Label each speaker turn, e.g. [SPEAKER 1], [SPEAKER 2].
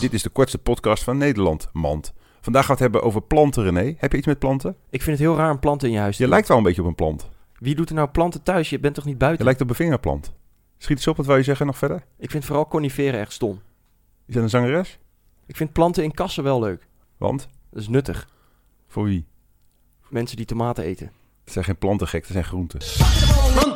[SPEAKER 1] Dit is de kortste podcast van Nederland, Mand. Vandaag gaan we het hebben over planten, René. Heb je iets met planten? Dus
[SPEAKER 2] Ik vind het heel raar een plant in je huis te
[SPEAKER 1] Je lijkt wel een beetje op een plant.
[SPEAKER 2] doen. Wie doet er nou planten thuis? Je bent toch niet
[SPEAKER 1] Je
[SPEAKER 2] buiten?
[SPEAKER 1] lijkt op een vingerplant. Schiet eens op, wat wil je zeggen nog verder?
[SPEAKER 2] Ik vind vooral coniferen echt stom.
[SPEAKER 1] Is dat een zangeres?
[SPEAKER 2] Ik vind planten in kassen wel leuk.
[SPEAKER 1] Want?
[SPEAKER 2] Dat is nuttig.
[SPEAKER 1] Voor wie?
[SPEAKER 2] Mensen die tomaten eten.
[SPEAKER 1] Het zijn geen plantengek, het zijn groenten.